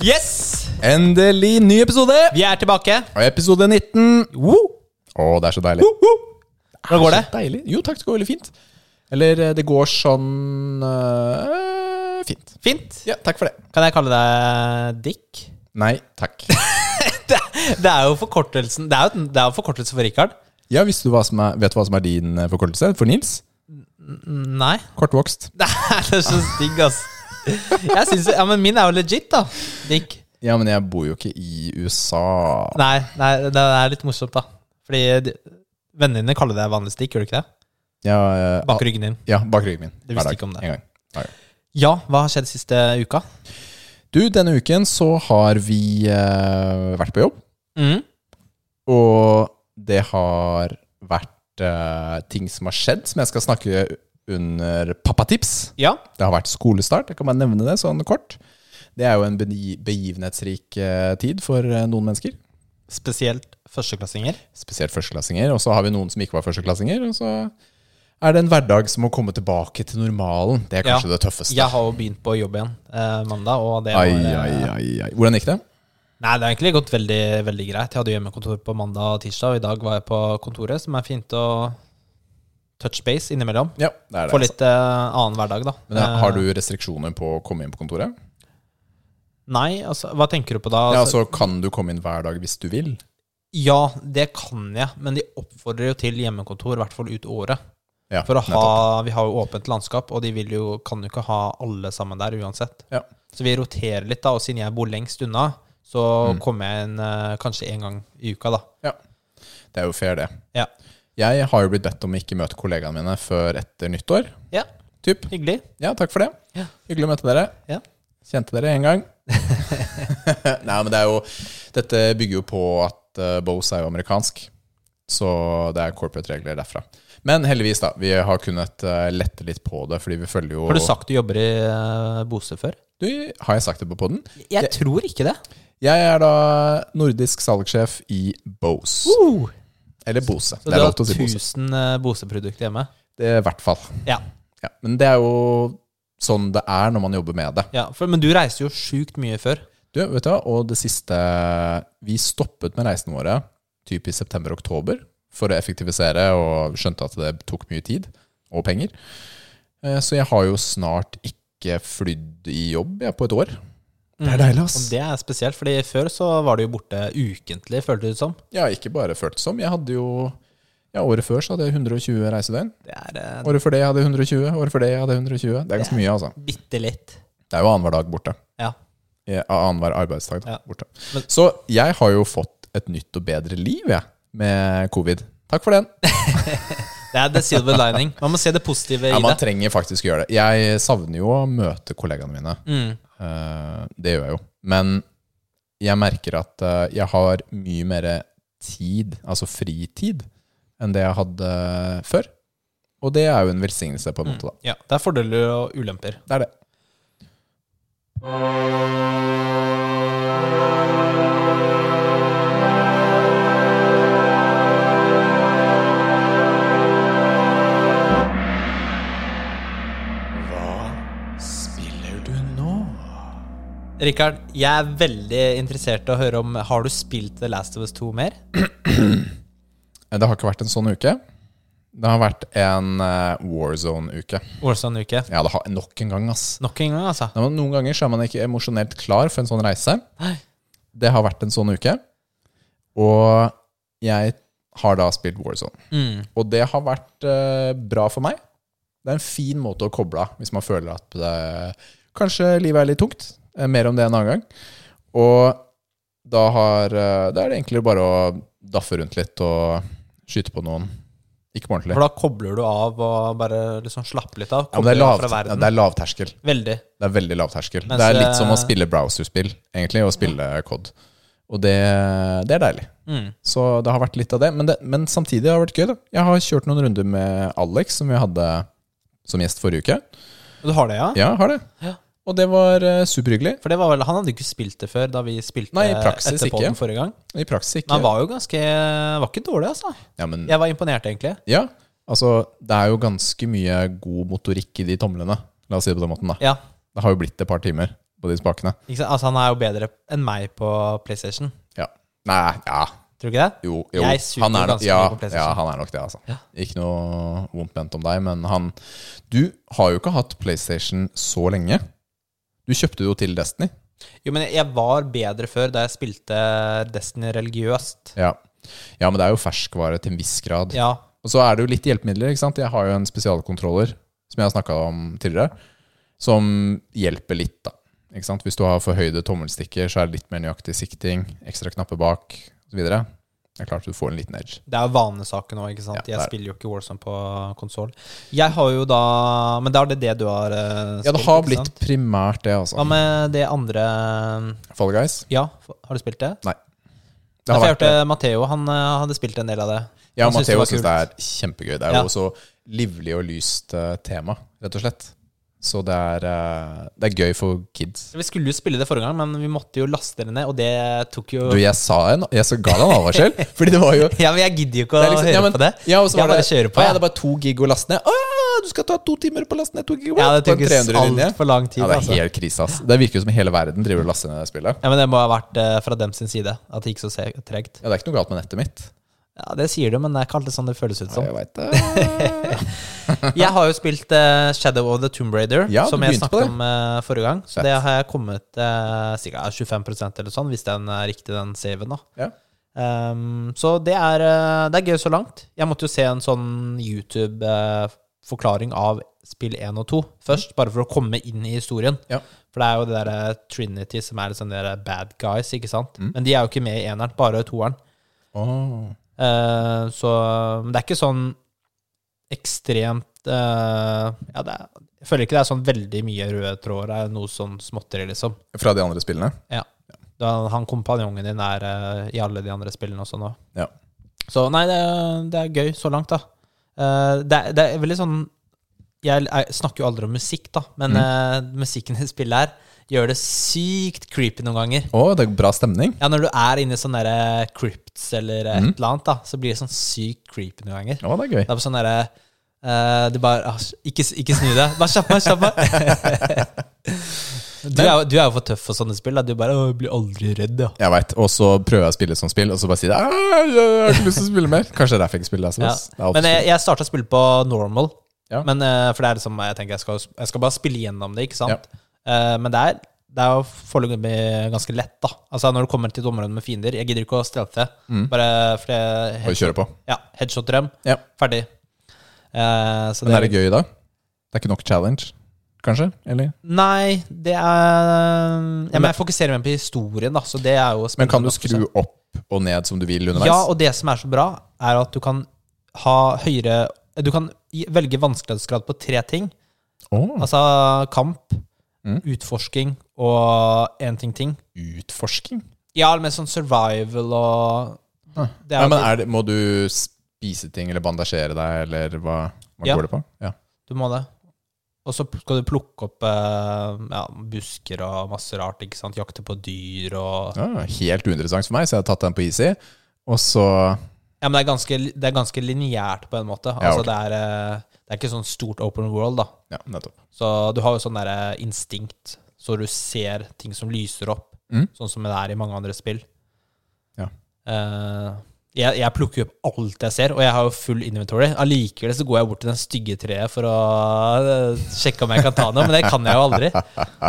Yes! Endelig ny episode! Vi er tilbake. Og episode 19. Woo! Å, det er så deilig. Hvordan går det? Så deilig. Jo takk, det går veldig fint. Eller eh, det går sånn eh, fint. Fint. Ja, takk for det. Kan jeg kalle deg Dick? Nei takk. Det er jo forkortelsen Det er jo, det er jo forkortelse for Richard. Ja, visste du hva som er, Vet du hva som er din eh, forkortelse for Nils? Nei. Kortvokst. Det er det er så stygg, ass. Jeg synes, ja, men min er jo legit, da. Dick. Ja, men jeg bor jo ikke i USA. Nei, nei, det er litt morsomt, da. Fordi de- vennene dine kaller deg vanligvis Dick, gjør du ikke det? Ja, eh, Bak ryggen din. Ja, bak ryggen min. Du Hver visste dag. ikke om det. En gang. Hver gang. Ja, hva har skjedd siste uka? Du, denne uken så har vi eh, vært på jobb, Mm. og det har vært eh, ting som har skjedd, som jeg skal snakke under pappatips. Ja. Det har vært skolestart, jeg kan bare nevne det sånn kort. Det er jo en begi- begivenhetsrik eh, tid for eh, noen mennesker, Spesielt førsteklassinger. spesielt førsteklassinger, og så har vi noen som ikke var førsteklassinger, og så er det en hverdag som må komme tilbake til normalen. Det er Ja. kanskje det tøffeste. Jeg har jo begynt på jobb igjen eh, mandag, og det var Ai, eh, ai, ai, ai. Hvordan gikk det? Nei, det har egentlig gått veldig, veldig greit. Jeg hadde hjemmekontor på mandag og tirsdag, og i dag var jeg på kontoret, som er fint å touch base innimellom. Ja, det er det. Få litt eh, annen hverdag, da. Men eh, har du restriksjoner på å komme inn på kontoret? Nei, altså, hva tenker du på da? ja, Altså, altså Kan du komme inn hver dag hvis du vil? ja, det kan jeg, men de oppfordrer jo til hjemmekontor, i hvert fall ut året. Ja, For å ha, nettopp. vi har jo åpent landskap, og de vil jo, kan jo ikke ha alle sammen der uansett. Ja. Så vi roterer litt, da, og siden jeg bor lengst unna, så Mm. kommer jeg inn eh, kanskje én gang i uka, da. Det er jo fair, det. Ja. Jeg har jo blitt bedt om å ikke møte kollegaene mine før etter nyttår. Ja, Typ. hyggelig. Ja, takk for det. Ja. Hyggelig å møte dere. Ja. Kjente dere én gang. Nei, men det er jo Dette bygger jo på at eh, Bose er jo amerikansk. Så det er corporate-regler derfra. Men heldigvis, da. Vi har kunnet eh, lette litt på det, fordi vi følger jo Har du sagt du jobber i eh, Bose før? Du, Har jeg sagt det på poden? Jeg tror ikke det. Jeg er da nordisk salgssjef i Bose. Eller Bose. Uh! Så du det er har lov til å si Bose. 1000 eh, Bose-produkter hjemme? Det er I hvert fall. Ja. Ja. Men det er jo sånn det er når man jobber med det. ja for, men du reiste jo sjukt mye før. Du, vet du hva, og det siste Vi stoppet med reisene våre typ i september-oktober for å effektivisere, og skjønte at det tok mye tid og penger. Eh, Så jeg har jo snart ikke flydd i jobb jeg, på et år. Det er deilig, ass. Og det er spesielt, fordi før så var du jo borte ukentlig, føltes det ut som. Ja, ikke bare føltes som. Jeg hadde jo ja, Året før så hadde jeg 120 reisedøgn. Det er eh, Året før det jeg hadde 120. Året før det jeg hadde 120. Det er ganske mye, altså. bitte litt. Det er jo annenhver dag borte. Ja. Ja, eh, Annenhver arbeidsdag da, Ja. borte. Men- Så jeg har jo fått et nytt og bedre liv, jeg, med covid. Takk for den. Det er the silver lining. Man må se det positive Ja, i man det. trenger faktisk å gjøre det. Jeg savner jo å møte kollegaene mine. Mm. Eh, Det gjør jeg jo. Men jeg merker at eh, jeg har mye mer tid, altså fritid, enn det jeg hadde før. Og det er jo en velsignelse, på en måte. da. Ja, det er fordeler og ulemper. Det er det. Hva spiller du nå? Rikard, jeg er veldig interessert i å høre om Har du spilt The Last of Us 2 mer? Det har ikke vært en sånn uke. Det har vært en eh, war zone-uke. Warzone-uke. Ja, det har nok en gang, ass. Nok en gang, altså. Nei, men noen ganger så er man ikke emosjonelt klar for en sånn reise. Nei. Det har vært en sånn uke. Og jeg har da spilt Warzone. Mm. Og det har vært eh, bra for meg. Det er en fin måte å koble av hvis man føler at eh, kanskje livet er litt tungt. Eh, mer om det en annen gang. Og da har eh, Da er det egentlig bare å daffe rundt litt og skyte på noen. Ikke ordentlig. For da kobler du av og bare liksom slapper litt av. Ja, men det, Kobler er av lav, fra ja, verden. det er lavterskel. Veldig. Det er veldig lavterskel. Mens, Det er litt som å eh, spille browserspill, egentlig, og spille COD. Og det, det er deilig. Mm. Så det har vært litt av det. Men, det, men samtidig har det vært gøy, da. Jeg har kjørt noen runder med Alex, som vi hadde som gjest forrige uke. Du har det, ja? Ja, har det. Ja. Og det var eh, superhyggelig. For det var vel, Han hadde ikke spilt det før, da vi spilte Nei, i praksis etterpå ikke. den forrige gang. I praksis Men ikke. han var jo ganske Var ikke dårlig, altså. Ja, men, Jeg var imponert, egentlig. ja, altså det er jo ganske mye god motorikk i de tomlene. La oss si det på den måten, da. Ja. Det har jo blitt et par timer. på de spakene. Ikke sant? Altså, han er jo bedre enn meg på PlayStation. Ja. Nei, ja. Tror du ikke det? Jo, jo. Jeg suger han er nok, ganske ja, mye på PlayStation. ja, han er nok det, altså. Ja. Ikke noe vondt ment om deg, men han Du har jo ikke hatt PlayStation så lenge. Du kjøpte jo til Destiny. Jo, men jeg var bedre før da jeg spilte Destiny religiøst. Ja, ja men det er jo ferskvare til en viss grad. Ja. Og så er det jo litt hjelpemidler. ikke sant? Jeg har jo en spesialkontroller som jeg har snakka om tidligere, som hjelper litt. da. Ikke sant? Hvis du har forhøyde tommelstikker, så er det litt mer nøyaktig sikting, ekstra knapper bak osv. Det er klart du får en liten edge. Det er jo vanesaken òg, ikke sant. Ja, det jeg er det. spiller jo ikke Warzone på konsoll. Jeg har jo da Men da er det det du har eh, spilt? Ja, det har ikke blitt sant? primært det, altså. Hva med det andre Fall Guys. Ja, har du spilt det? Det har Derfor jeg vært det. hørte Matheo, han eh, hadde spilt en del av det. Ja, han syntes det Matheo var syns det er kjempegøy. Det er Ja. jo så livlig og lyst eh, tema, rett og slett. Så det er, eh, det er gøy for kids. Vi skulle jo spille det forrige gang, men vi måtte jo laste det ned, og det tok jo Du, jeg sa en, jeg så ga deg en advarsel, fordi det var jo Ja, men jeg gidder jo ikke å Det er liksom- høre ja, men- på det. Ja, og så Jeg var det, bare kjører på, «Å, Ja, jeg». det er bare to gig å laste ned. Å, du skal ta to timer på å laste ned to gig! Ja, det på en tok 300 linje. altfor lang tid. Ja, det er altså. helt krise, ass. Det virker jo som hele verden driver og laster ned det spillet. Ja, men det må ha vært eh, fra dem sin side, at det gikk så se- tregt. Ja, det er ikke noe galt med nettet mitt. Ja, det sier du, men det er ikke alltid sånn det føles ut som. Jeg vet det. Jeg har jo spilt eh, Shadow of the Tomb Raider, Ja, du som jeg begynte på snakket det. om eh, forrige gang. Så Fett. det har jeg kommet eh, sikkert 25 eller sånn, hvis den er riktig, den saven, da. Ja. Ehm, så det er, eh, det er gøy så langt. Jeg måtte jo se en sånn YouTube-forklaring av spill 1 og 2 først, bare for å komme inn i historien. Ja. For det er jo det derre Trinity som er liksom dere bad guys, ikke sant? Men de er jo ikke med i eneren, bare toeren. Åh. Eh, så men det er ikke sånn ekstremt eh, ja, det er, Jeg føler ikke det er sånn veldig mye røde tråder. Det er noe sånn småtteri, liksom. Fra de andre spillene? Ja. Da, han kompanjongen din er eh, i alle de andre spillene også nå. Ja. Så nei, det, det er gøy så langt, da. Eh, det, er- det er veldig sånn jeg, jeg snakker jo aldri om musikk, da, men eh, musikken i spillet her gjør det sykt creepy noen ganger. Å, det er bra stemning. Ja, når du er inne i sånne der crypts eller et eller annet, da, så blir det sånn sykt creepy noen ganger. Å, det er gøy. Det er på sånn derre eh, Du bare ah, ikke, ikke snu deg. Bare kjapp meg, kjapp meg. Du er, jo- du er jo for tøff for sånne spill. Da. Du bare «Åh, jeg blir aldri redd, ja. Jeg vet, Og så prøver jeg å spille som spill, og så bare sier jeg «Æ, jeg har ikke lyst til å spille mer. Kanskje det er derfor jeg ikke spiller ja. SMS. Det er alltid Men jeg, jeg starta å spille på normal. Ja. Men, eh, for det er liksom Jeg tenker jeg skal, jeg skal bare spille gjennom det, ikke sant? Ja. Eh, men det er, det er jo foreløpig ganske lett, da. Altså Når du kommer til et område med fiender Jeg gidder ikke å stelte. Mm. Bare for det spill. Bare kjøre på. Ja, headshot dem. Ja. Ferdig. Eh, så Men er det gøy i dag? Det er ikke nok challenge, kanskje? Eller? Nei, det er ja, Men jeg fokuserer mer på historien, da, så det er jo Men kan spennende du nok, skru så. opp og ned som du vil underveis? Ja, og det som er så bra, er at du kan ha høyere Du kan i- velge vanskelighetsgrad på tre ting. Åh, Altså kamp, Mm. utforsking og én ting-ting. utforsking? Ja, men sånn survival og det er, Nei, men er det, må du spise ting eller bandasjere deg, eller hva, hva Ja. går det på? Ja. Du må det. Og så skal du plukke opp eh, ja, busker og masse rart. ikke sant? Jakte på dyr og Ah, helt uinteressant for meg, så jeg har tatt den på easy. Og så Ja, men det er ganske, det er ganske lineært på en måte. Ja, Altså, ok. det, er, eh, det er ikke sånn stort open world, da. Ja, nettopp. Så du har jo sånn derre instinkt, så du ser ting som lyser opp, Mm. sånn som det er i mange andre spill. Ja. Eh, jeg, jeg plukker jo opp alt jeg ser, og jeg har jo full inventory. Allikevel så går jeg bort til den stygge treet for å eh, sjekke om jeg kan ta noe, men det kan jeg jo aldri.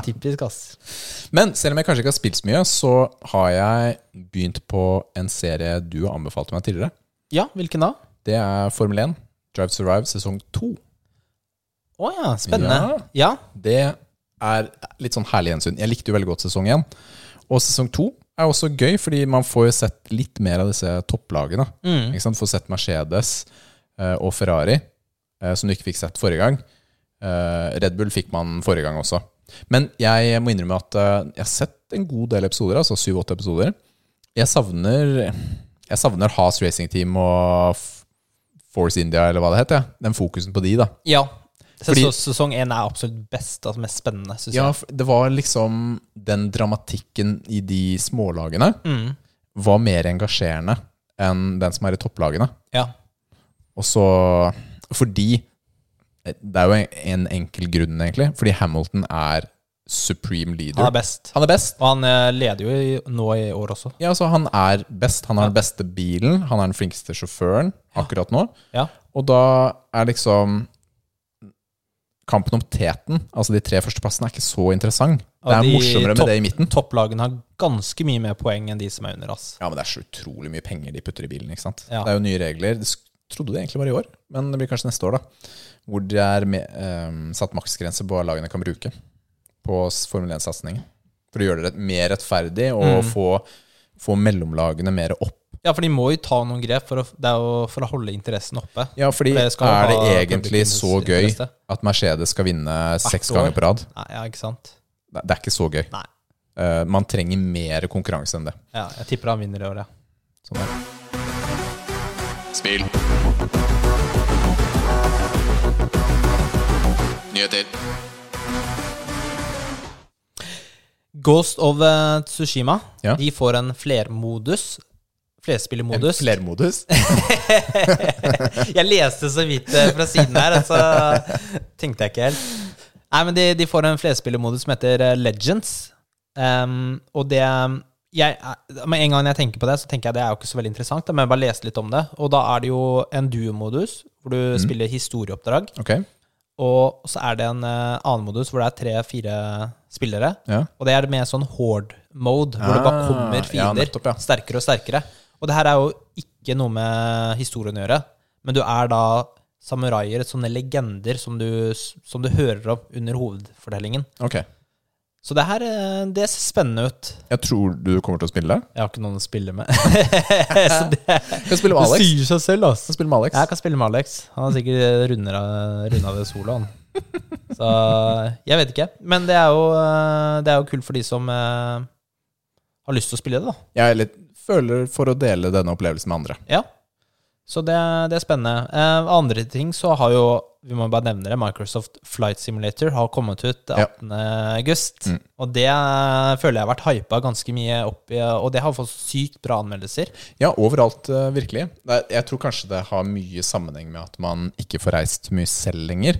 Typisk, ass. Men selv om jeg kanskje ikke har spilt så mye, så har jeg begynt på en serie du anbefalte meg tidligere. Ja, hvilken da? Det er Formel 1, Drive to Survive sesong 2. Å ja, spennende. Ja. Det er litt sånn herlig gjensyn. Jeg likte jo veldig godt sesong 1. Og sesong 2 er også gøy, fordi man får jo sett litt mer av disse topplagene. Mm. Ikke sant? Får sett Mercedes eh, og Ferrari, eh, som du ikke fikk sett forrige gang. Eh, Red Bull fikk man forrige gang også. Men jeg må innrømme at eh, jeg har sett en god del episoder, altså syv-åtte episoder. Jeg savner, jeg savner Haas Racing Team og F- Force India, eller hva det heter. Ja. Den fokusen på de, da. ja. Fordi- Sesong- sesong én er absolutt best, altså mest spennende, syns Ja, for det var liksom den dramatikken i de smålagene jeg. Mm. var mer engasjerende enn den som er i topplagene. Ja. Og så eh, Fordi Det er jo en enkel grunn, egentlig. Fordi Hamilton er supreme Han leader. er best. Han er best. Og han eh, leder jo i, nå i år også. Ja, altså, han er best. Han har den beste bilen. Han er den flinkeste sjåføren akkurat nå. Ja. Og da er liksom Kampen om teten, altså de tre førsteplassene, er ikke så interessant. Det Og er de morsommere med topp- det i midten. Topplagene har ganske mye mer poeng enn de som er under, ass. Ja, men det er så utrolig mye penger de putter i bilen, ikke sant. Ja. Det er jo nye regler. Jeg trodde det egentlig var i år, men det blir kanskje neste år, da. Hvor det er med, eh, satt maksgrense på hva lagene kan bruke på s- Formel 1-satsingen. For å gjøre det rett- mer rettferdig og Mm. få, få mellomlagene mer opp. Ja, for de må jo ta noen grep for å, det er jo for å holde interessen oppe. Ja, fordi For det skal er det ha egentlig publikums så gøy interesse. at Mercedes skal vinne seks år. ganger på rad? Nei, ja, ikke sant? Nei, Det er ikke så gøy. Nei. Eh, man trenger mer konkurranse enn det. Ja, jeg tipper han vinner i år, ja. Sånn er det. Spill. Nyheter. Ghost of eh, Tsushima. Ja. De får en flermodus. En Flerspillermodus. Flermodus? jeg leste så vidt eh, fra siden her, så tenkte jeg ikke helt. Nei, men de, de får en flerspillermodus som heter eh, Legends. Ehm, og det jeg, eh, Med en gang jeg tenker på det, så tenker jeg det er jo ikke så veldig interessant. da, Men jeg bare leste litt om det. Og da er det jo en duo-modus, hvor du spiller historieoppdrag. Ok, Og så er det en eh, annen modus hvor det er tre-fire spillere. ja. Og det er mer sånn horde mode, hvor det bare Ah, kommer ja, fiender nettopp, ja. sterkere og sterkere. Og det her er jo ikke noe med historien å gjøre, men du er da samuraier, sånne legender som du, som du hører om under hovedfortellingen. Ok. Så det her eh, det ser spennende ut. Jeg tror du kommer til å spille det. Jeg har ikke noen å spille med. Så det, Kan spille med Alex. sier seg selv, altså. Kan spille med Alex. Jeg kan spille med Alex. Han har sikkert runda det soloen. Så jeg vet ikke. Men det er jo, eh, det er jo kult for de som eh, har lyst til å spille det, da. Jeg er litt, føler for å dele denne opplevelsen med andre. Ja. Så det, det er spennende. Eh, andre ting så har jo, vi må bare nevne det, Microsoft Flight Simulator har kommet ut 18. august. Mm. Og det eh, føler jeg har vært hypa ganske mye opp i, og det har fått sykt bra anmeldelser. Ja, overalt, eh, virkelig. Det er- Jeg tror kanskje det har mye sammenheng med at man ikke får reist mye selv lenger.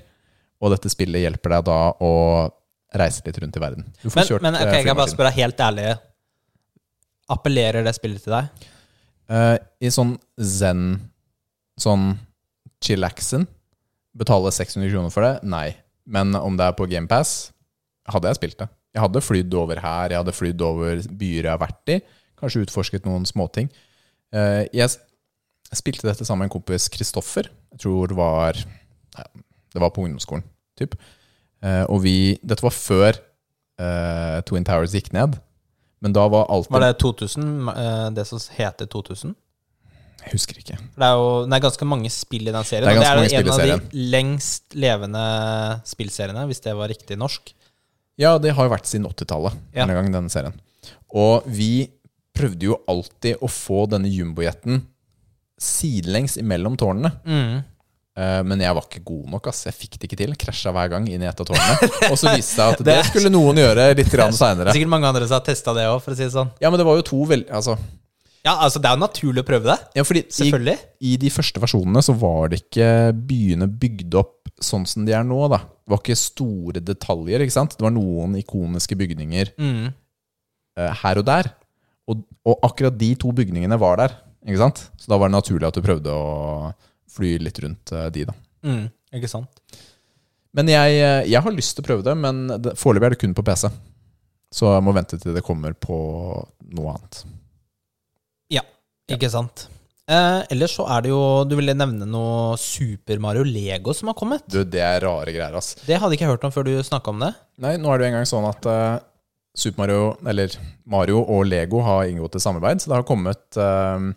Og dette spillet hjelper deg da å reise litt rundt i verden. Du får Men, kjørt men eh, ok, jeg kan bare flymaskin. spørre deg helt ærlig, appellerer det spillet til deg? Eh, I sånn zen, sånn chillaxen, betale 600 kroner for det? Nei. Men om det er på GamePass, hadde jeg spilt det. Jeg hadde flydd over her, jeg hadde flydd over byer jeg har vært i. Kanskje utforsket noen småting. Eh, Jeg s- spilte dette sammen med en kompis, Kristoffer. Jeg tror det var nei, Det var på ungdomsskolen, typ. Eh, Og vi Dette var før eh, Twin Towers gikk ned. Men da var alt Var det 2000, eh, det som heter 2000? Jeg husker ikke. For Det er jo det er ganske mange spill i den serien. Det er og ganske det er jo mange en spill i av de lengst levende spillseriene, hvis det var riktig norsk. Ja, det har jo vært siden 80-tallet, Ja. denne gangen, denne serien. Og vi prøvde jo alltid å få denne jumbojeten sidelengs imellom tårnene. Mm. Eh, Men jeg var ikke god nok. ass Jeg fikk det ikke til. Krasja hver gang inn i et av tårnene. Og så viste det seg at det Det- skulle noen gjøre litt seinere. Sikkert mange andre som har testa det òg, for å si det sånn. Ja, men det var jo to veldig altså, Ja, altså, det er jo naturlig å prøve det. ja, fordi i, Selvfølgelig. I de første versjonene så var det ikke byene bygd opp sånn som de er nå. da Det var ikke store detaljer. ikke sant? Det var noen ikoniske bygninger Mm. eh, her og der. Og, og akkurat de to bygningene var der. Ikke sant? Så da var det naturlig at du prøvde å fly litt rundt eh, de, da. Mm. Ikke sant? Men jeg, eh, jeg har lyst til å prøve det, men det- foreløpig er det kun på PC. Så jeg må vente til det kommer på noe annet. Ja. Ikke sant. Eh, ellers så er det jo Du ville nevne noe Super Mario Lego som har kommet. Du, det er rare greier, ass. Det hadde ikke jeg hørt om før du snakka om det. Nei, nå er det jo engang sånn at eh, Super Mario, eller Mario og Lego har inngått et samarbeid, så det har kommet eh,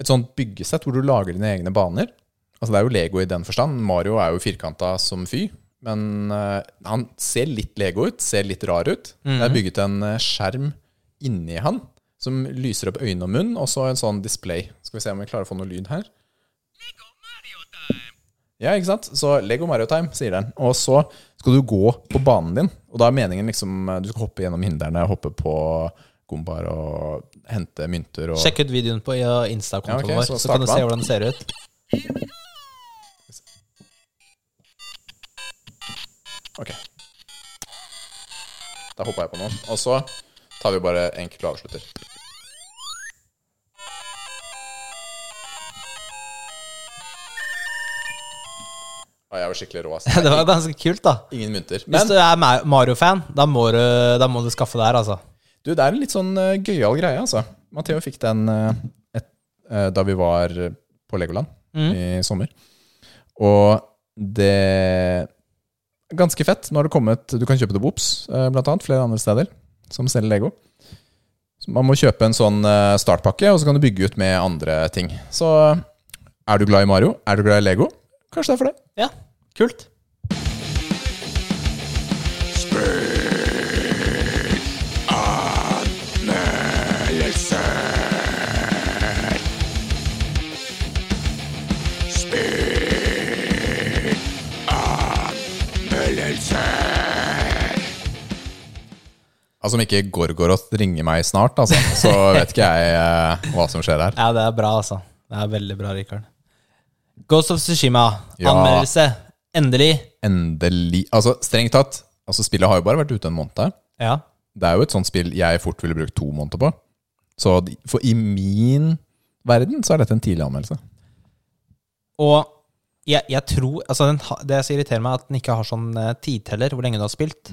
et sånt byggesett hvor du lager dine egne baner. Altså det er jo Lego i den forstand. Mario er jo firkanta som fy, men eh, han ser litt Lego ut, ser litt rar ut. Det er bygget en eh, skjerm inni han som lyser opp øyne og munn, og så en sånn display. Skal vi se om vi klarer å få noe lyd her. Ja, ikke sant? Så Lego Mario Time, sier den. Og så skal du gå på banen din. Og da er meningen liksom eh, Du skal hoppe gjennom hindrene, hoppe på gombaer og hente mynter og Sjekk ut videoen på ja, Insta-kontoen Ja, ok, så vår, så kan du starter se man. hvordan det ser ut. Ok. Da hoppa jeg på noen. Og så tar vi bare enkelt og avslutter. Å, jeg var skikkelig rå, ass. Det var ganske kult, da. Ingen mynter. Hvis Men du er Ma- Mario-fan, da, må du- da må du skaffe det her, altså. du, det er en litt sånn eh, gøyal greie, altså. Matheo fikk den eh, et, eh, da vi var eh, på Legoland i sommer. Og det er Ganske fett. Nå har det kommet Du kan kjøpe det på Ops, eh, blant annet. Flere andre steder som selger Lego. Så man må kjøpe en sånn eh, startpakke, og så kan du bygge ut med andre ting. Så eh, er du glad i Mario? Er du glad i Lego? Kanskje det er for det. Ja, kult. Altså Om ikke Gorgoroth ringer meg snart, altså, så vet ikke jeg eh, hva som skjer her. Ja, det er bra, altså. Det er veldig bra, Rikard. Ghost of Tsushima, Ja. anmeldelse. Endelig. Endelig Altså, strengt tatt. Altså Spillet har jo bare vært ute en måned. Ja. Det er jo et sånt spill jeg fort ville brukt to måneder på. Så de- for i min verden så er dette en tidlig anmeldelse. Og jeg, jeg tror altså den, ha- Det som irriterer meg, er at den ikke har sånn eh, tidteller, hvor lenge du har Mm. spilt.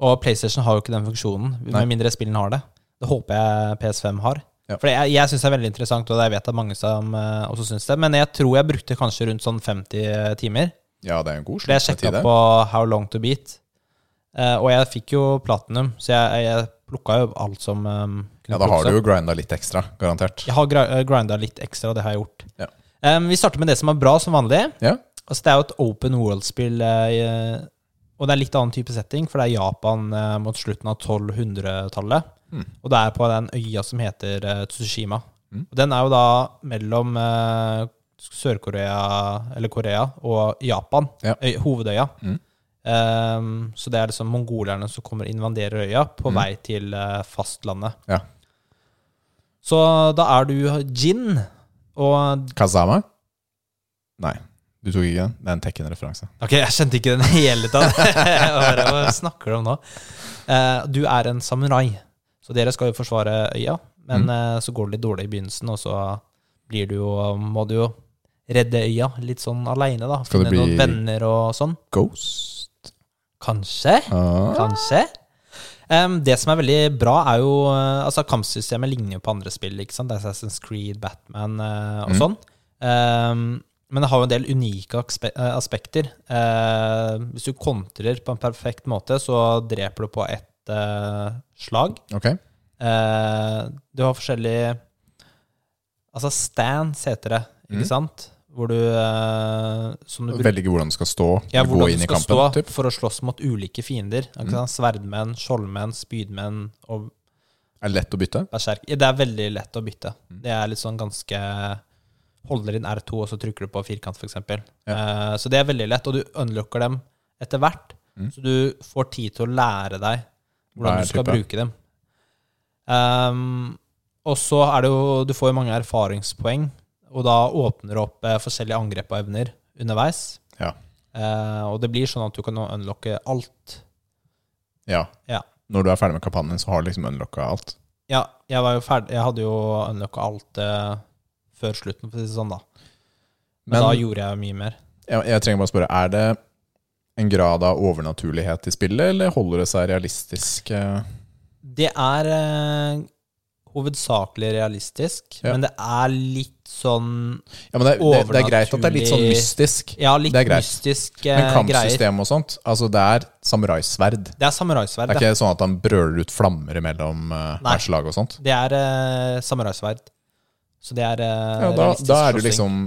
Og PlayStation har jo ikke den funksjonen, med mindre spillene har det. Det håper jeg PS5 har. Ja. For jeg, jeg syns det er veldig interessant, og jeg vet at mange som eh, også syns det. Men jeg tror jeg brukte kanskje rundt sånn 50 timer. Ja, det er en god For jeg sjekka på How Long To Beat, eh, og jeg fikk jo platinum, så jeg, jeg plukka jo alt som eh, kunne Ja, da har plukkes du opp. jo grinda litt ekstra, garantert. Jeg har grinda litt ekstra, det har jeg gjort. Ja. Eh, vi starter med det som er bra, som vanlig. Ja, Altså, det er jo et open world-spill, eh, i- og det er litt annen type setting, for det er Japan eh, mot slutten av 1200-tallet. Mm. Og det er på den øya som heter eh, Tsushima. Mm. Og den er jo da mellom eh, Sør-Korea, eller Korea, og Japan, Ja. øy, hovedøya. Mm. Eh, så det er liksom mongolerne som kommer og invaderer øya på vei til eh, fastlandet. Mm. ja. Så da er du Jin, og Kazama? Nei, du tok ikke den? Det er en Tekken-referanse. Ok, jeg skjønte ikke den i hele tatt. Hva hva snakker du om nå? Eh, Du er en samurai, så dere skal jo forsvare øya. Mm. Men eh, så går det litt dårlig i begynnelsen, og så blir du jo, må du jo redde øya litt sånn aleine, da. Finne Skal det bli- noen venner og sånn. Ghost? Kanskje. Ah. Kanskje. Em, det som er veldig bra, er jo eh, Altså, kampsystemet ligner jo på andre spill. ikke sant? Det er Assassin's Creed, Batman eh, og sånn. Em, men det har jo en del unike akspe eh, aspekter. Eh, hvis du kontrer på en perfekt måte, så dreper du på ett eh, slag. Ok. Eh, du har forskjellige Altså stands heter det, ikke sant? Hvor du eh, Som du bruker Velge hvordan du skal stå, ja, eller gå hvordan du inn i skal kampen. stå Typ. for å slåss mot ulike fiender. Ikke sant? Sverdmenn, skjoldmenn, spydmenn og Er det lett å bytte? berserk. Det er veldig lett å bytte. Mm. Det er litt sånn ganske Holder inn R2, og så trykker du på firkant, f.eks. Eh, så det er veldig lett, og du unlocker dem etter hvert. Så du får tid til å lære deg hvordan Mm. Hver du skal type. bruke dem. Ehm, og så er det jo Du får jo mange erfaringspoeng, og da åpner det opp eh, forskjellige angrep og evner underveis. Ja. Eh, og det blir sånn at du kan nå unlocke alt. ja. Ja. Når du er ferdig med kampanjen, så har du liksom unlocka alt. Ja, jeg var jo ferdig Jeg hadde jo unlocka alt eh, før slutten, for å si det sånn, da. Men, Men- da gjorde jeg mye mer. Jeg, jeg trenger bare å spørre, er det en grad av overnaturlighet i spillet, eller holder det seg realistisk? eh? Det er eh, hovedsakelig realistisk, Ja. men det er litt sånn Ja, men det, det, det er greit at det er litt sånn Overnaturlig- mystisk. Ja, litt Det er greit. mystisk Men eh, greier. kampsystem og sånt, altså det er samuraisverd. Det er samuraisverd. Det er Det, ikke sånn at han brøler ut flammer mellom eh, Nei. hvert slag og sånt. det er eh, samuraisverd. Så det er eh, Ja, da, realistisk da er det slåssing. liksom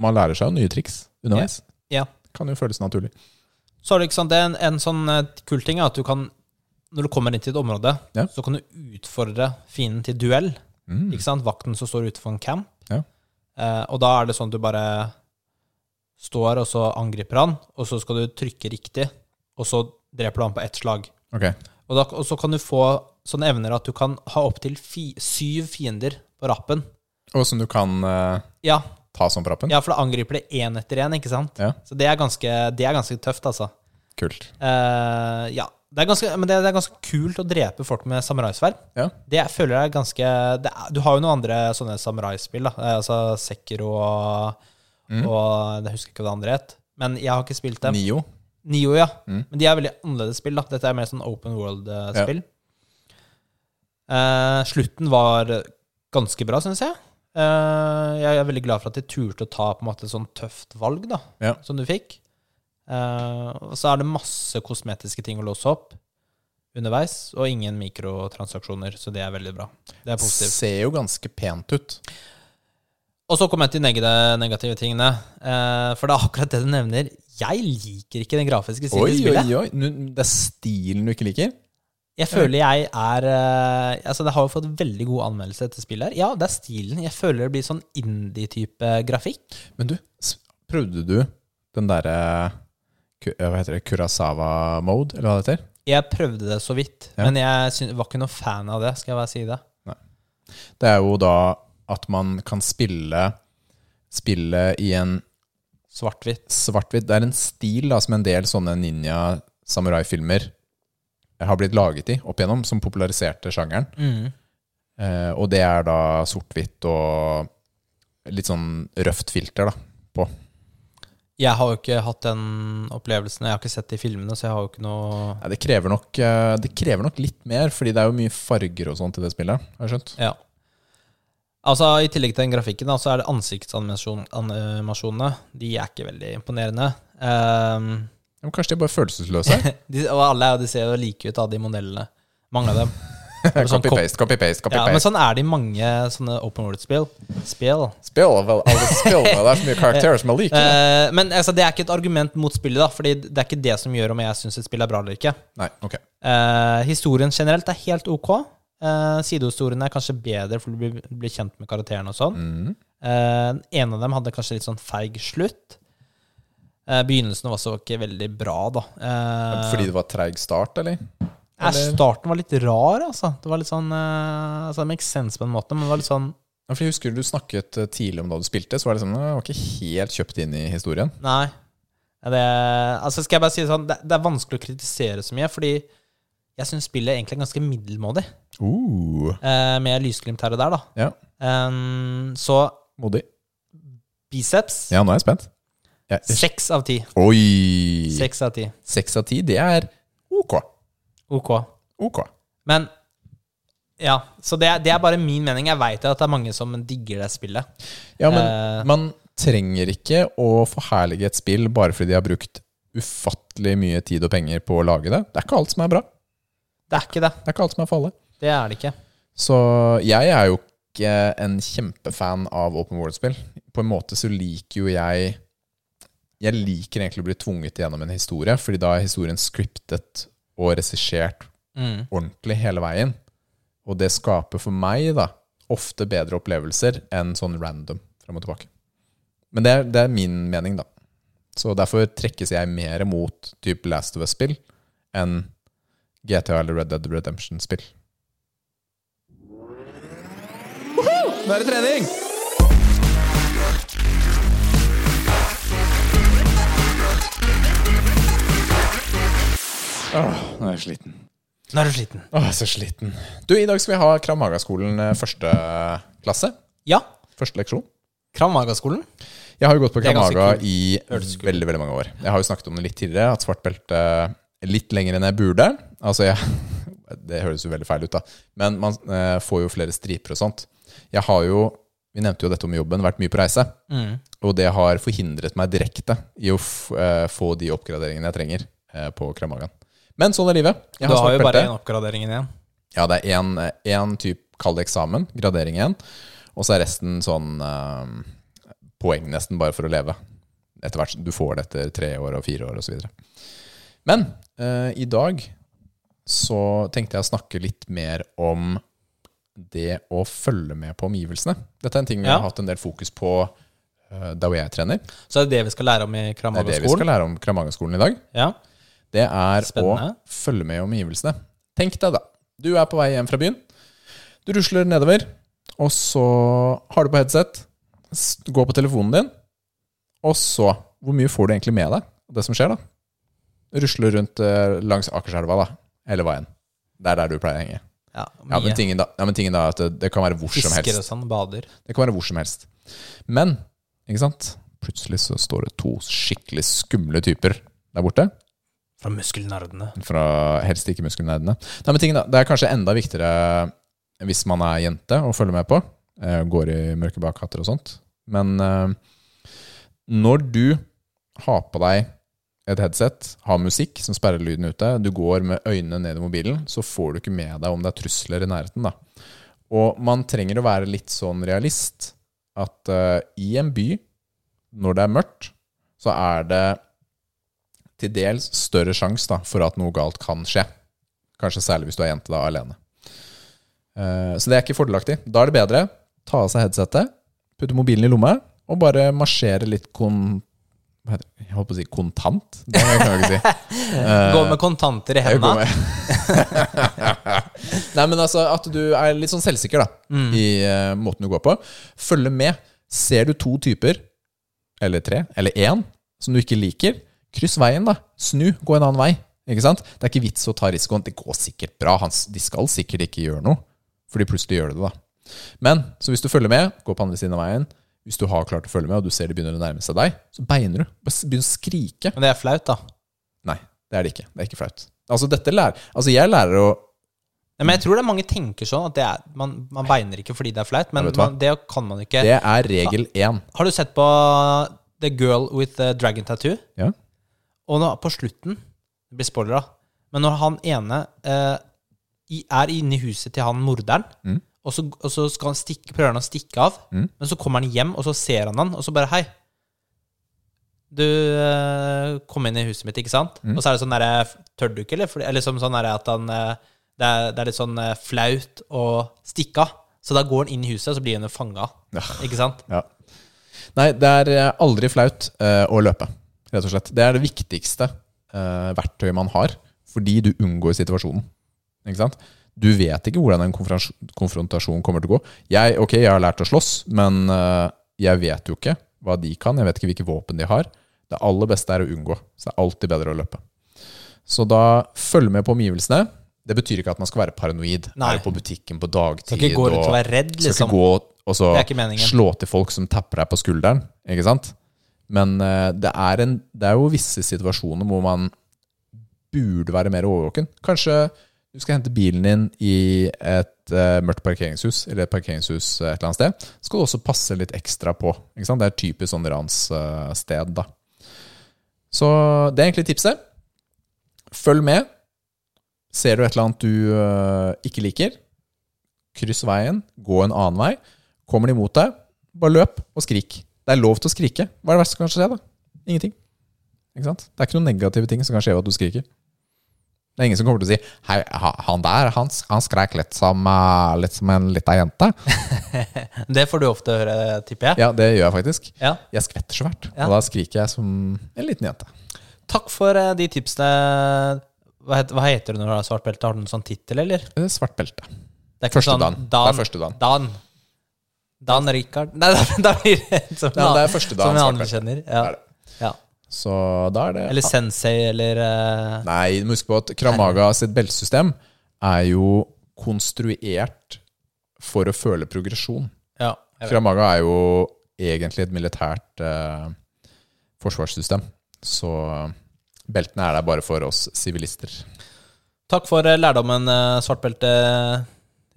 Man lærer seg jo nye triks underveis. Ja. Kan jo føles naturlig. Så er det ikke sant, det er en, en sånn eh, kul ting er at du kan, når du kommer inn til et område, Ja. så kan du utfordre fienden til duell. Mm, Ikke sant? Vakten som står utenfor en camp. Ja. Eh, og da er det sånn at du bare står, og så angriper han, og så skal du trykke riktig, og så dreper du han på ett slag. Ok. Og, da, og så kan du få sånne evner at du kan ha opptil fi, syv fiender på rappen. Og som du kan eh, Ja, ta som på rappen. ja for da angriper det én etter én, ikke sant? Ja. Så det er ganske, det er ganske tøft, altså. Kult. Eh, ja, Det er, ganske, men det, det er ganske kult å drepe folk med samuraisverd. Ja. Det jeg føler jeg er ganske det er, Du har jo noen andre sånne samuraispill, da. Eh, Altså Sekiro og, og Jeg husker ikke hva det andre het. Men jeg har ikke spilt dem. Nio. Nio, ja. Mm. Men de er veldig annerledes spill. da Dette er mer sånn open world-spill. Eh, slutten var ganske bra, syns jeg. Eh, jeg er veldig glad for at de turte å ta på en måte et sånn tøft valg da Ja. som du fikk. Eh, og så er det masse kosmetiske ting å låse opp underveis, og ingen mikrotransaksjoner, så det er veldig bra. Det er positivt. Ser jo ganske pent ut. Og så kommer jeg til neg- de negative tingene, eh, for det er akkurat det du nevner. Jeg liker ikke den grafiske siden Oi, i oi, spillet. oi. Nu- Det er stilen du ikke liker? Jeg føler jeg er eh, Altså, det har jo fått veldig god anmeldelse, dette spillet her. Ja, det er stilen. Jeg føler det blir sånn indie-type grafikk. Men du, s- prøvde du den derre ku- eh, Hva heter det? Kurosawa-mode, eller hva det heter? Jeg prøvde det så vidt, Ja. men jeg syn- var ikke noen fan av det, skal jeg bare si det. Det er jo da at man kan spille Spille i en Svart-hvitt. svart-hvitt Det er en stil da, som en del sånne ninja-samurai-filmer har blitt laget i opp igjennom, som populariserte sjangeren. Mm. Eh, og det er da sort-hvitt og litt sånn røft filter, da. Jeg har jo ikke hatt den opplevelsen. Jeg har ikke sett de filmene, så jeg har jo ikke noe Nei, det, krever nok, eh, det krever nok litt mer, fordi det er jo mye farger og sånt i det spillet. Har jeg skjønt? Ja. Altså, I tillegg til den grafikken, da, så er det ansiktsanimasjonene. De er ikke veldig imponerende. Ehm, Ja, Men kanskje de er bare følelsesløse? de, og alle er- de ser jo like ut, da, de modellene. Mange av dem. Sånn kop- Copy-paste, copy-paste, Ja, men copy-paste. sånn er det i mange sånne open world-spill. Spill. Spill, vel, alle spillene, det er så mye karakterer som er like. Eh, men altså, det er ikke et argument mot spillet, da, Fordi det er ikke det som gjør om jeg syns et spill er bra eller ikke. Nei, ok. Eh, historien generelt er helt ok. Eh, sidehistoriene er kanskje bedre, for du blir, blir kjent med karakterene og sånn. Mm. Eh, en av dem hadde kanskje litt sånn feig slutt. Eh, begynnelsen var også ikke veldig bra, da. Eh, Fordi det var treig start, eller? eh, eller- starten var litt rar, altså. Det var litt sånn eh, altså, Det makes sense på en måte, men det var litt sånn Ja, for jeg husker du snakket eh, tidlig om da du spilte, så var det sånn, jeg var ikke helt kjøpt inn i historien. Nei. Det, altså skal jeg bare si det sånn, det, det er vanskelig å kritisere så mye, fordi jeg syns spillet egentlig er ganske middelmådig, Uh, eh, med lysglimt her og der, da. Ja. Eh, så modig. biceps Ja, nå er jeg spent. Jeg- Seks av ti. Oi! Seks av ti. Seks av ti, det er ok. Ok. Ok. Men Ja, så det, er- det er bare min mening. Jeg veit at det er mange som digger det spillet. Ja, men Eh. man trenger ikke å forherlige et spill bare fordi de har brukt ufattelig mye tid og penger på å lage det. Det er ikke alt som er bra. Det Det er ikke det. er ikke alt som er for alle. Det er det ikke. Så jeg er jo ikke en kjempefan av open world-spill. På en måte så liker jo jeg Jeg liker egentlig å bli tvunget gjennom en historie, fordi da er historien scriptet og regissert Mm. ordentlig hele veien. Og det skaper for meg da ofte bedre opplevelser enn sånn random frem og tilbake. Men det er, det er min mening, da. Så derfor trekkes jeg mer mot type Last of Us-spill enn GTA eller Red Dead Redemption-spill. Nå er det trening! nå er jeg sliten. Nå er du sliten. Åh, jeg er så sliten. Du, i dag skal vi ha Krav Maga-skolen eh, første klasse. Ja. Første leksjon. Kramagaskolen. Jeg har jo gått på Det er Krav ganske Maga kult. i Hørtes kult. veldig, veldig mange år. Jeg har jo snakket om det litt tidligere, at svart belte litt lenger enn jeg burde. Altså, jeg Det høres jo veldig feil ut, da. Men man eh, får jo flere striper og sånt. Jeg har jo, vi nevnte jo dette om jobben, vært mye på reise. Mm. Og det har forhindret meg direkte i å f eh, få de oppgraderingene jeg trenger eh, på Krav Magaen. Men sånn er livet. Jeg Du har svart jo bare belte. én oppgradering igjen. Ja, det er en, en type kall det eksamen, gradering igjen, og så er resten sånn eh, poeng nesten bare for å leve. Etter hvert, Du får det etter tre år og fire år og så videre. Men eh, i dag så tenkte jeg å snakke litt mer om det å følge med på omgivelsene. Dette er en ting vi Ja. har hatt en del fokus på eh, da hvor jeg trener. Så det er det vi skal lære om i Det er det vi skal Kramagaskolen. lære om Kramangerskolen i dag. Ja. Det er Spennende. å følge med i omgivelsene. Tenk deg, da. Du er på vei hjem fra byen. Du rusler nedover, og så har du på headset. S- Går på telefonen din. Og så Hvor mye får du egentlig med deg av det som skjer, da? Rusler rundt eh, langs Akerselva, da. hele veien. Det er der du pleier å henge. Ja, Ja, men mye. tingen da, ja, men tingen da er at det, det kan være hvor som Fisker og helst. sånn, bader. Det kan være hvor som helst. Men, ikke sant? Plutselig så står det to skikkelig skumle typer der borte. Fra muskelnerdene. Fra helst ikke muskelnerdene. Nei, men tingen da, det er kanskje enda viktigere hvis man er jente og følger med på. eh, Går i mørke bakhatter og sånt. Men eh, når du har på deg et headset, har musikk som sperrer lyden ute, du går med øynene ned i mobilen, så får du ikke med deg om det er trusler i nærheten. da. Og man trenger å være litt sånn realist at eh, i en by, når det er mørkt, så er det til dels større sjanse da, for at noe galt kan skje. Kanskje særlig hvis du er jente da, alene. Eh, Så det er ikke fordelaktig. Da er det bedre ta av seg headsetet, putte mobilen i lomma, og bare marsjere litt kon... Hva heter det? Jeg holdt på å si kontant. Det kan jeg ikke si. Gå med kontanter i Eh, Jeg går hendene. med. Nei, men altså at du er litt sånn selvsikker da, i eh, måten du går på. Følge med. Ser du to typer, eller tre, eller én, som du ikke liker, kryss veien, da. Snu, gå en annen vei. Ikke sant? Det er ikke vits å ta risikoen. Det går sikkert bra. Han, de skal sikkert ikke gjøre noe, for de plutselig gjør det, da. Men så hvis du følger med, gå på andre siden av veien. Hvis du har klart å følge med, og du ser de begynner å nærme seg deg, så beiner du. Bare s- Begynn å skrike. Men det er flaut, da. Nei, det er det ikke. Det er ikke flaut. Altså, dette lærer Altså, jeg lærer å Nei, men jeg tror det er mange tenker sånn at det er, man, man beiner ikke fordi det er flaut, men vet du hva? man, det kan man ikke. Det er regel én. Har du sett på The Girl with the Dragon Tattoo? Ja. Og nå, på slutten Det blir spoiler, da. Men når han ene eh, i- er inne i huset til han morderen, Mm. og, så, og så skal han stikke, prøver han å stikke av, men så kommer han hjem, og så ser han han, og så bare Hei. Du eh, kom inn i huset mitt, ikke sant? Mm. Og så er det sånn derre Tør du ikke, eller? Fordi- Eller liksom sånn derre at han eh, det er, det er litt sånn eh, flaut å stikke av. Så da går han inn i huset, og så blir han jo fanga. Ah. Ikke sant? Ja. Nei, det er eh, aldri flaut eh, å løpe, rett og slett. Det er det viktigste eh, verktøyet man har, fordi du unngår situasjonen. Ikke sant? Du vet ikke hvordan en konfrans- konfrontasjon kommer til å gå. Jeg, ok, jeg har lært å slåss, men eh, jeg vet jo ikke hva de kan. Jeg vet ikke hvilke våpen de har. Det aller beste er å unngå. Så det er alltid bedre å løpe. Så da følg med på omgivelsene. Det betyr ikke at man skal være paranoid. Nei. Er du på butikken på dagtid? Skal ikke gå rundt og- og være redd, Skal liksom. ikke gå og så Det er ikke meningen. slå til folk som tapper deg på skulderen, ikke sant? Men eh, det, er en, det er jo visse situasjoner hvor man burde være mer overvåken. Kanskje du skal hente bilen din i et eh, mørkt parkeringshus, eller et parkeringshus eh, et eller annet sted. Så skal du også passe litt ekstra på. Ikke sant? Det er et typisk sånn ranssted, da. Så det er egentlig tipset. Følg med. Ser du et eller annet du eh, ikke liker, kryss veien, gå en annen vei. Kommer de mot deg, bare løp og skrik. Det er lov til å skrike. Hva er det verste som kan skje, da? Ingenting. Ikke sant? Det er ikke noen negative ting som kan skje ved at du skriker. Det er ingen som kommer til å si Hei, ha- han der, han, s- han skreik litt som, eh, litt som en lita jente. Det får du ofte høre, tipper jeg. Ja, det gjør jeg faktisk. Ja. Jeg skvetter så fælt. Ja. Og da skriker jeg som en liten jente. Takk for eh, de tipsene. Hva heter, hva heter du når du har svart belte? Har du noen sånn tittel, eller? Det er Svart belte. Det er ikke sånn Første dan. Det er første dan. Dan. Dan Rikard Nei, da, da blir det som en Ja, det er annen- første Som dan en svart annen vi belte. kjenner. Det er Ja. det. ja. Så da er det Eller Sensei, eller eh, Nei, du må huske på at Kramaga sitt beltesystem er jo konstruert for å føle progresjon. Ja. jeg vet. Kramaga er jo egentlig et militært eh, forsvarssystem. Så beltene er der bare for oss sivilister. Takk for eh, lærdommen, eh, svart belte,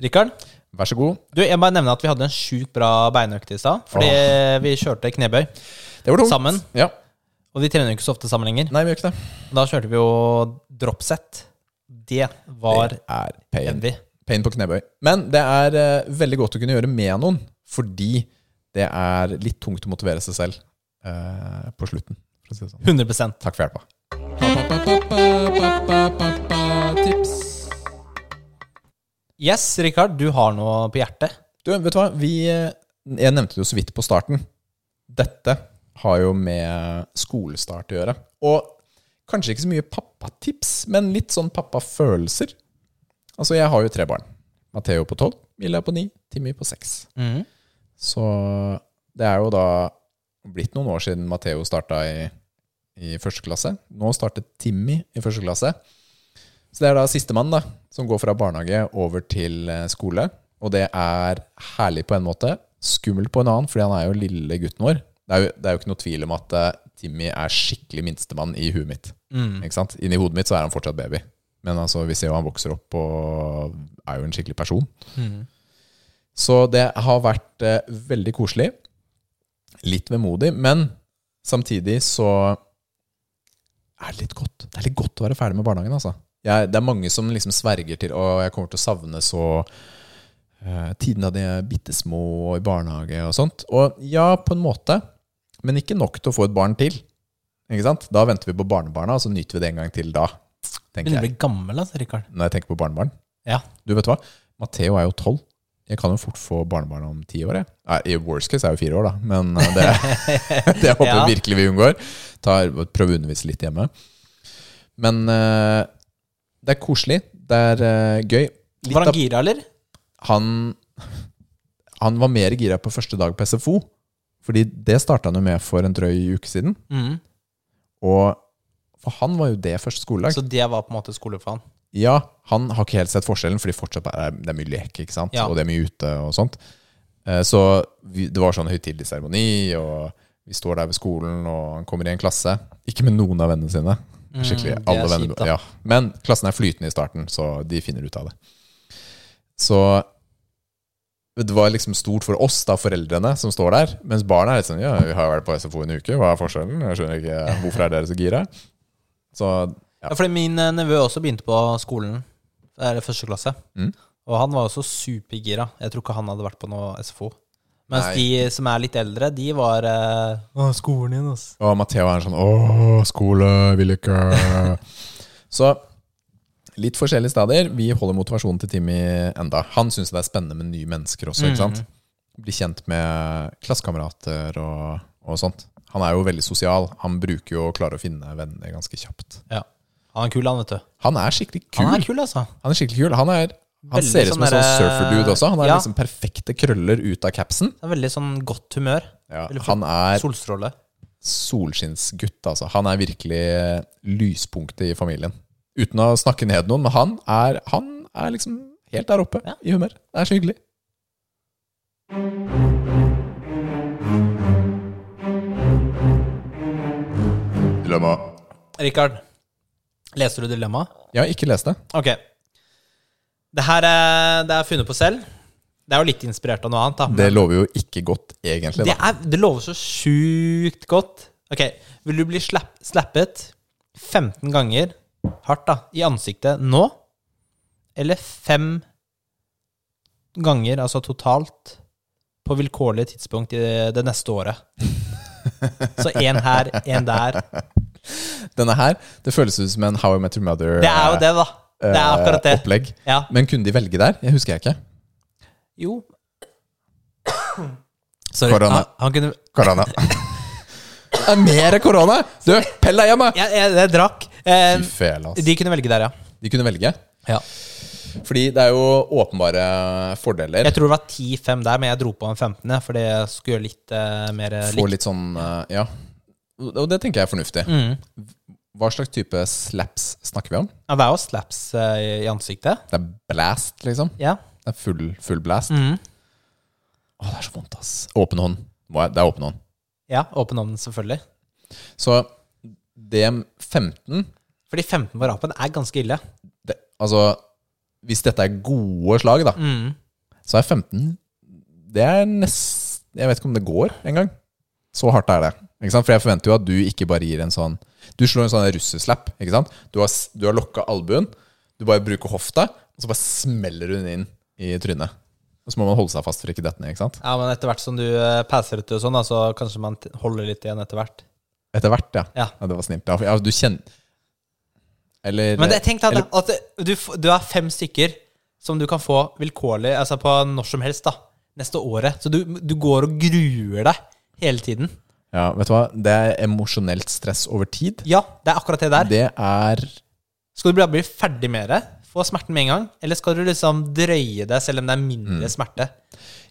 Rikard. Vær så god. Du, jeg må bare nevne at vi hadde en sjukt bra beinøkt i stad. Fordi vi kjørte knebøy. Det var tungt. Sammen. Ja. Og vi trener jo ikke så ofte sammen lenger. Nei, vi gjør ikke det. Da kjørte vi jo dropset. Det var Det er pain. envy. Pain på knebøy. Men det er eh, veldig godt å kunne gjøre med noen, fordi det er litt tungt å motivere seg selv eh, på slutten. For å si det sånn. 100 Takk for hjelpa. Yes, Rikard, du har noe på hjertet. Du, vet du hva? Vi, jeg nevnte det jo så vidt på starten. Dette har jo med skolestart å gjøre. Og kanskje ikke så mye pappatips, men litt sånn pappafølelser. Altså, jeg har jo tre barn. Matheo på tolv, Milla på ni, Timmy på seks. Så det er jo da blitt noen år siden Matheo starta i, i første klasse. Nå startet Timmy i første klasse. Så det er da sistemann, da, som går fra barnehage over til eh, skole. Og det er herlig på en måte, skummelt på en annen, fordi han er jo lille gutten vår. Det er jo, det er jo ikke noe tvil om at eh, Timmy er skikkelig minstemann i huet mitt. Ikke sant? Inni hodet mitt så er han fortsatt baby. Men altså, vi ser jo han vokser opp og er jo en skikkelig person. Så det har vært eh, veldig koselig. Litt vemodig, men samtidig så er det litt godt. Det er litt godt å være ferdig med barnehagen, altså. Jeg, det er mange som liksom sverger til å jeg kommer til å savne så eh, tiden da de er bitte små og i barnehage og sånt. Og ja, på en måte, men ikke nok til å få et barn til. Ikke sant? Da venter vi på barnebarna, og så nyter vi det en gang til da. Begynner Tenker å jeg, bli gammel, altså, Rikard. når jeg tenker på barnebarn. Ja. Du vet hva? Matheo er jo tolv. Jeg kan jo fort få barnebarn om ti år. Jeg. Nei, I worst case er jeg jo fire år, da. Men eh, det, det håper Ja. jeg virkelig vi unngår. Tar, prøv å undervise litt hjemme. Men eh, det er koselig. Det er eh, gøy. Litt Var av- han gira, eller? han, han var mer gira på første dag på SFO. Fordi det starta han jo med for en drøy uke siden. Mhm. Og for han var jo det første skoledag. Så det var på en måte skole for han. Ja, han har ikke helt sett forskjellen, fordi fortsatt er det er mye lek, ikke sant? Ja. og det er mye ute og sånt. Eh, Så vi, det var sånn høytidelig seremoni, og vi står der ved skolen, og han kommer i en klasse. Ikke med noen av vennene sine. Skikkelig, Mm, det er alle kjipt, da. venner, ja. Men klassen er flytende i starten, så de finner ut av det. Så det var liksom stort for oss, da, foreldrene som står der. Mens barna er litt sånn Ja, vi har jo vært på SFO en uke, hva er forskjellen? Jeg skjønner ikke, Hvorfor er dere så gira? Så ja. Ja, fordi min eh, nevø også begynte på skolen. Eller første klasse. Mm. Og han var også supergira. Jeg tror ikke han hadde vært på noe SFO. Mens Nei. de som er litt eldre, de var eh, Å, skolen altså. igjen, ass. Og Matheo er sånn Åh, skole, vil ikke Så litt forskjellige stadier. Vi holder motivasjonen til Timmy enda. Han syns det er spennende med nye mennesker også. ikke sant? Mm. Bli kjent med klassekamerater og, og sånt. Han er jo veldig sosial. Han bruker jo å klare å finne venner ganske kjapt. Ja. Han er kul, han, vet du. Han er skikkelig kul. Han er kul, altså. Han er skikkelig kul. Han, er, han Veldig ser ut som sånn en sånn derre- surferdude også. Han har Ja. liksom perfekte krøller ut av capsen. Han er veldig sånn godt humør. Ja, Veldig flott. han er Solstråle. solskinnsgutt. Altså. Han er virkelig eh, lyspunktet i familien. Uten å snakke ned noen, men han er, han er liksom helt der oppe Ja. i humør. Det er så hyggelig. Dilemma. Rikard, leser du dilemmaet? Jeg har ikke lest det. Ok. Det her er, det er funnet på selv. Det er jo litt inspirert av noe annet, da. Det lover jo ikke godt, egentlig. Det, Da. er, det lover så sjukt godt. Ok, Vil du bli slapp, slappet 15 ganger hardt da, i ansiktet nå? Eller fem ganger, altså totalt, på vilkårlig tidspunkt i det, det neste året? Så én her, én der. Denne her, det føles ut som en How I Met Your Det er jo Mother-opplegg. det, da. Det er akkurat Eh, det. Ja. Men kunne de velge der? Jeg husker jeg ikke. Jo. Sorry. Korona. Han, han kunne Korona. det er mer korona! Du, pell deg hjemme! Jeg, jeg, jeg drakk. Fy Eh, fela, ass. de kunne velge der, ja. De kunne velge. ja. Fordi det er jo åpenbare fordeler. Jeg tror det var 10-5 der, men jeg dro på en 15. jeg, Fordi jeg skulle gjøre litt Mm. eh, mer Få likt. litt sånn eh, Ja. Og det tenker jeg er fornuftig. Hva slags type slaps snakker vi om? Ja, det er jo slaps eh, i- i ansiktet. Det er blast, liksom. Ja. Det er full, full blast. Mm. Å, det er så vondt, ass. Åpen hånd. Må jeg- Det er åpen hånd. ja åpen ovn, selvfølgelig. Så DM15 Fordi 15 på rapen er ganske ille. det, Altså, hvis dette er gode slag, da, Mm. så er 15 Det er nest Jeg vet ikke om det går engang. Så hardt er det. Ikke sant? For jeg forventer jo at du ikke bare gir en sånn Du slår en sånn russeslapp. Ikke sant? Du har, s- du har lokka albuen, du bare bruker hofta, og så bare smeller hun inn i trynet. Og så må man holde seg fast for ikke dette ned. ikke sant? Ja, Men etter hvert som du eh, passer ut og sånn, da, så kanskje man t- holder litt igjen etter hvert. Etter hvert, ja. Ja. det var snilt. Ja, for- ja du kjenner Eller Men det, tenk deg eller, da, at det- du, f- du har fem stykker som du kan få vilkårlig altså på når som helst da, neste året. Så du, du går og gruer deg hele tiden. Ja, vet du hva? Det er emosjonelt stress over tid. Ja, det er akkurat det der. Det er Skal du bare bli ferdig med det? Få smerten med en gang? Eller skal du liksom drøye deg selv om det er Mm. mindre smerte?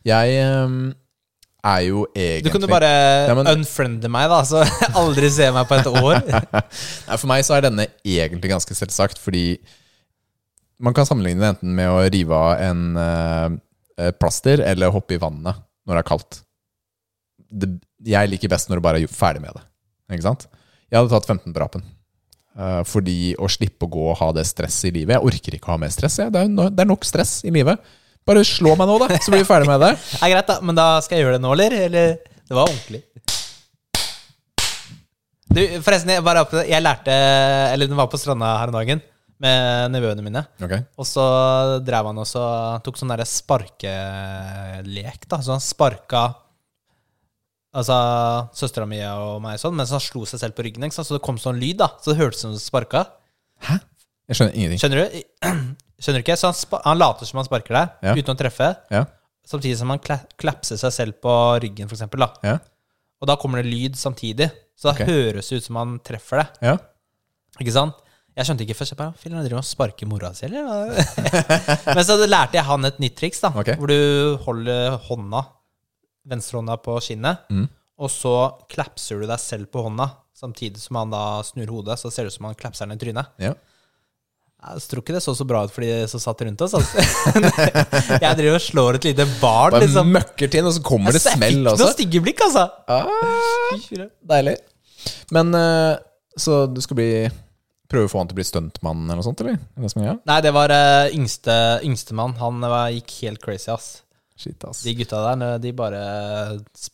Jeg eh, er jo egentlig Du kunne bare Ja, men- unfriende meg, da, så jeg aldri se meg på et år. Nei, for meg så er denne egentlig ganske selvsagt, fordi Man kan sammenligne det enten med å rive av en eh, eh, plaster eller hoppe i vannet når det er kaldt. Det, jeg liker best når du bare er gjo- ferdig med det. Ikke sant? Jeg hadde tatt 15 på rapen. Eh, fordi å slippe å gå og ha det stresset i livet Jeg orker ikke å ha mer stress. Jeg. Det, er, no- det er nok stress i livet. Bare slå meg nå, da, så blir vi ferdig med det. Det er greit, da. Men da skal jeg gjøre det nå, eller? eller? Det var ordentlig. Du, forresten, jeg, bare, opp- jeg lærte Eller den var på stranda her om dagen med nevøene mine. Ok. Og så drev han også tok sånn derre sparkelek, da. Så han sparka Altså søstera mi og meg sånn, mens han slo seg selv på ryggen. Ikke sant? Så det kom sånn lyd, da. Så det hørtes ut som han sparka. Jeg skjønner ingenting. Skjønner du? Skjønner du ikke? Så han, spa han later som han sparker deg, Ja. uten å treffe. Ja, Samtidig som han kla klapser seg selv på ryggen, for eksempel, da. ja, Og da kommer det lyd samtidig. Så da Ok. høres det ut som han treffer det. ja. Ikke sant? Jeg skjønte ikke først. Jeg bare, Filler'n, driver han og sparker mora si, eller? hva?» Men så lærte jeg han et nytt triks, da. Ok. Hvor du holder hånda, venstrehånda på skinnet, Mm. og så klapser du deg selv på hånda, samtidig som han da snur hodet, så ser det ut som han klapser den i trynet. ja. Jeg tror ikke det så så bra ut for de som satt rundt oss. Altså. jeg driver og slår et lite barn, Bare liksom. møkker til, og så kommer det Altså, jeg smell fikk også. noen stygge blikk, altså. Ah, deilig. Men eh, så du skal bli prøve å få han til å bli stuntmann eller noe sånt, eller? eller som, ja. Nei, det var eh, yngste yngstemann. Han eh, var, gikk helt crazy, ass. Shit, ass. De gutta der, når de bare eh, s-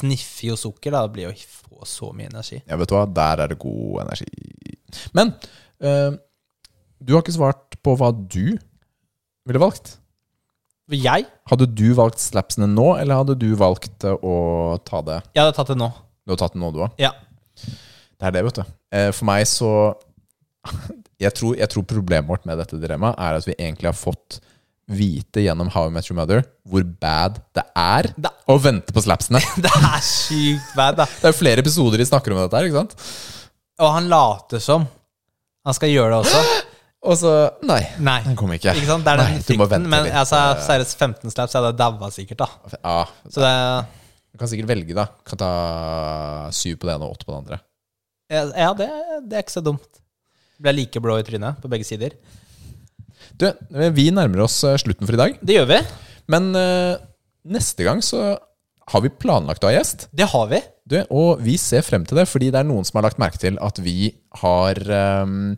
sniffer jo sukker, da. Det blir jo få så mye energi. Ja, vet du hva, der er det god energi. Men eh, du har ikke svart på hva du ville valgt. Men jeg? Hadde du valgt slapsene nå, eller hadde du valgt eh, å ta det Jeg hadde tatt det nå. Du har tatt den nå, du òg? Ja. Det er det, vet du. Eh, For meg så jeg tror, jeg tror problemet vårt med dette dilemmaet er at vi egentlig har fått vite gjennom How I Met Your Mother hvor bad det er Det- å vente på slapsene. Det er sykt bad, da. Det er jo flere episoder de snakker om dette her, ikke sant? Og han later som. Han skal gjøre det også. Og så Nei, Nei. den kom ikke. Ikke sant? Det er den Nei, du må frykten. vente Men litt. altså, seriøst, 15 slaps jeg hadde daua sikkert, da. Ja, Så det du kan sikkert velge, da. Kan ta syv på det ene og åtte på det andre. Ja, det, det er ikke så dumt. Ble like blå i trynet på begge sider. Du, vi nærmer oss eh, slutten for i dag. Det gjør vi. Men eh, neste gang så har vi planlagt å ha gjest. Det har vi. Du, og vi ser frem til det, fordi det er noen som har lagt merke til at vi har ehm,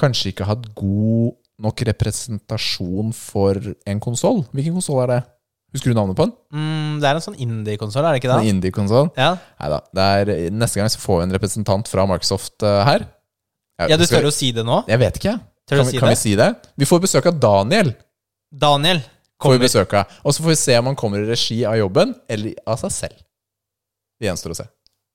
kanskje ikke hatt god nok representasjon for en konsoll. Hvilken konsoll er det? Husker du navnet på den? Mm, det er en sånn indie-konsoll, er det ikke En det? indie-konsoll? Ja. Neida, det er- Neste gang så får vi en representant fra Microsoft eh, her. ja, du skal- tør å si det nå? Jeg vet ikke. Tør du kan vi, si kan det? vi si det? Vi får besøk av Daniel. Daniel. Får vi Kommer. besøk av. Og så får vi se om han kommer i regi av jobben eller av seg selv. Det gjenstår å se.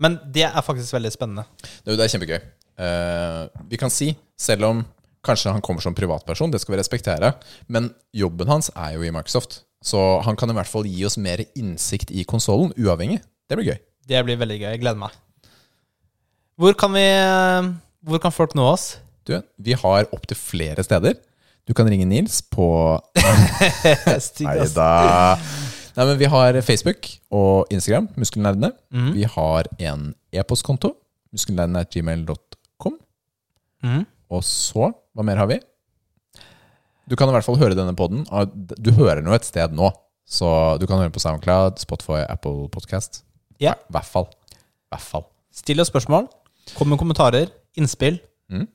Men det er faktisk veldig spennende. Det, det er kjempegøy. Eh, vi kan si, selv om kanskje han kommer som privatperson, det skal vi respektere, men jobben hans er jo i Microsoft. Så han kan i hvert fall gi oss mer innsikt i konsollen, uavhengig. Det blir gøy. Det blir veldig gøy. Jeg gleder meg. Hvor kan vi eh, Hvor kan folk nå oss? Du, vi har opptil flere steder. Du kan ringe Nils på Stygg, Nei ass. da. Nei, men vi har Facebook og Instagram, Muskelnerdene. Mhm. Vi har en e-postkonto, muskelnerdene.gmail.com. Mhm. Og så, hva mer har vi? Du kan i hvert fall høre denne podden. av- Du hører den jo et sted nå. Så du kan høre på SoundCloud, Spotify, Apple Podcast. Ja. I hvert fall. I hvert fall. Still oss spørsmål. Kom med kommentarer. Innspill. Mhm.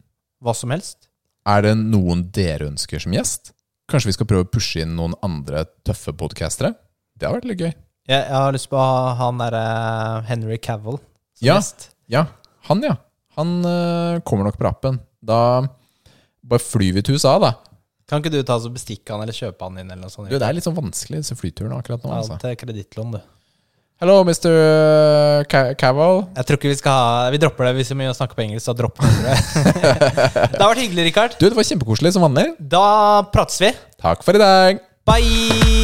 Hva som helst. Er det noen dere ønsker som gjest? Kanskje vi skal prøve å pushe inn noen andre tøffe podcastere? Det har vært litt gøy. Jeg, jeg har lyst på å ha han derre Henry Cavill som Ja. gjest. Ja, han ja. Han øh, kommer nok på rappen. Da bare flyr vi til USA, da. Kan ikke du ta oss og bestikke han eller kjøpe han inn? eller noe sånt? Du, det er litt sånn vanskelig, disse flyturene akkurat nå. Altså. Alt er kredittlån, du. Hello, Mr. eh, Ca- Cavill. Jeg tror ikke Vi skal ha, vi dropper det hvis vi må snakke på engelsk. Da dropper vi det. det har vært hyggelig, Rikard. Du, det var kjempekoselig som vanlig. Da prates vi. Takk for i dag. Bye!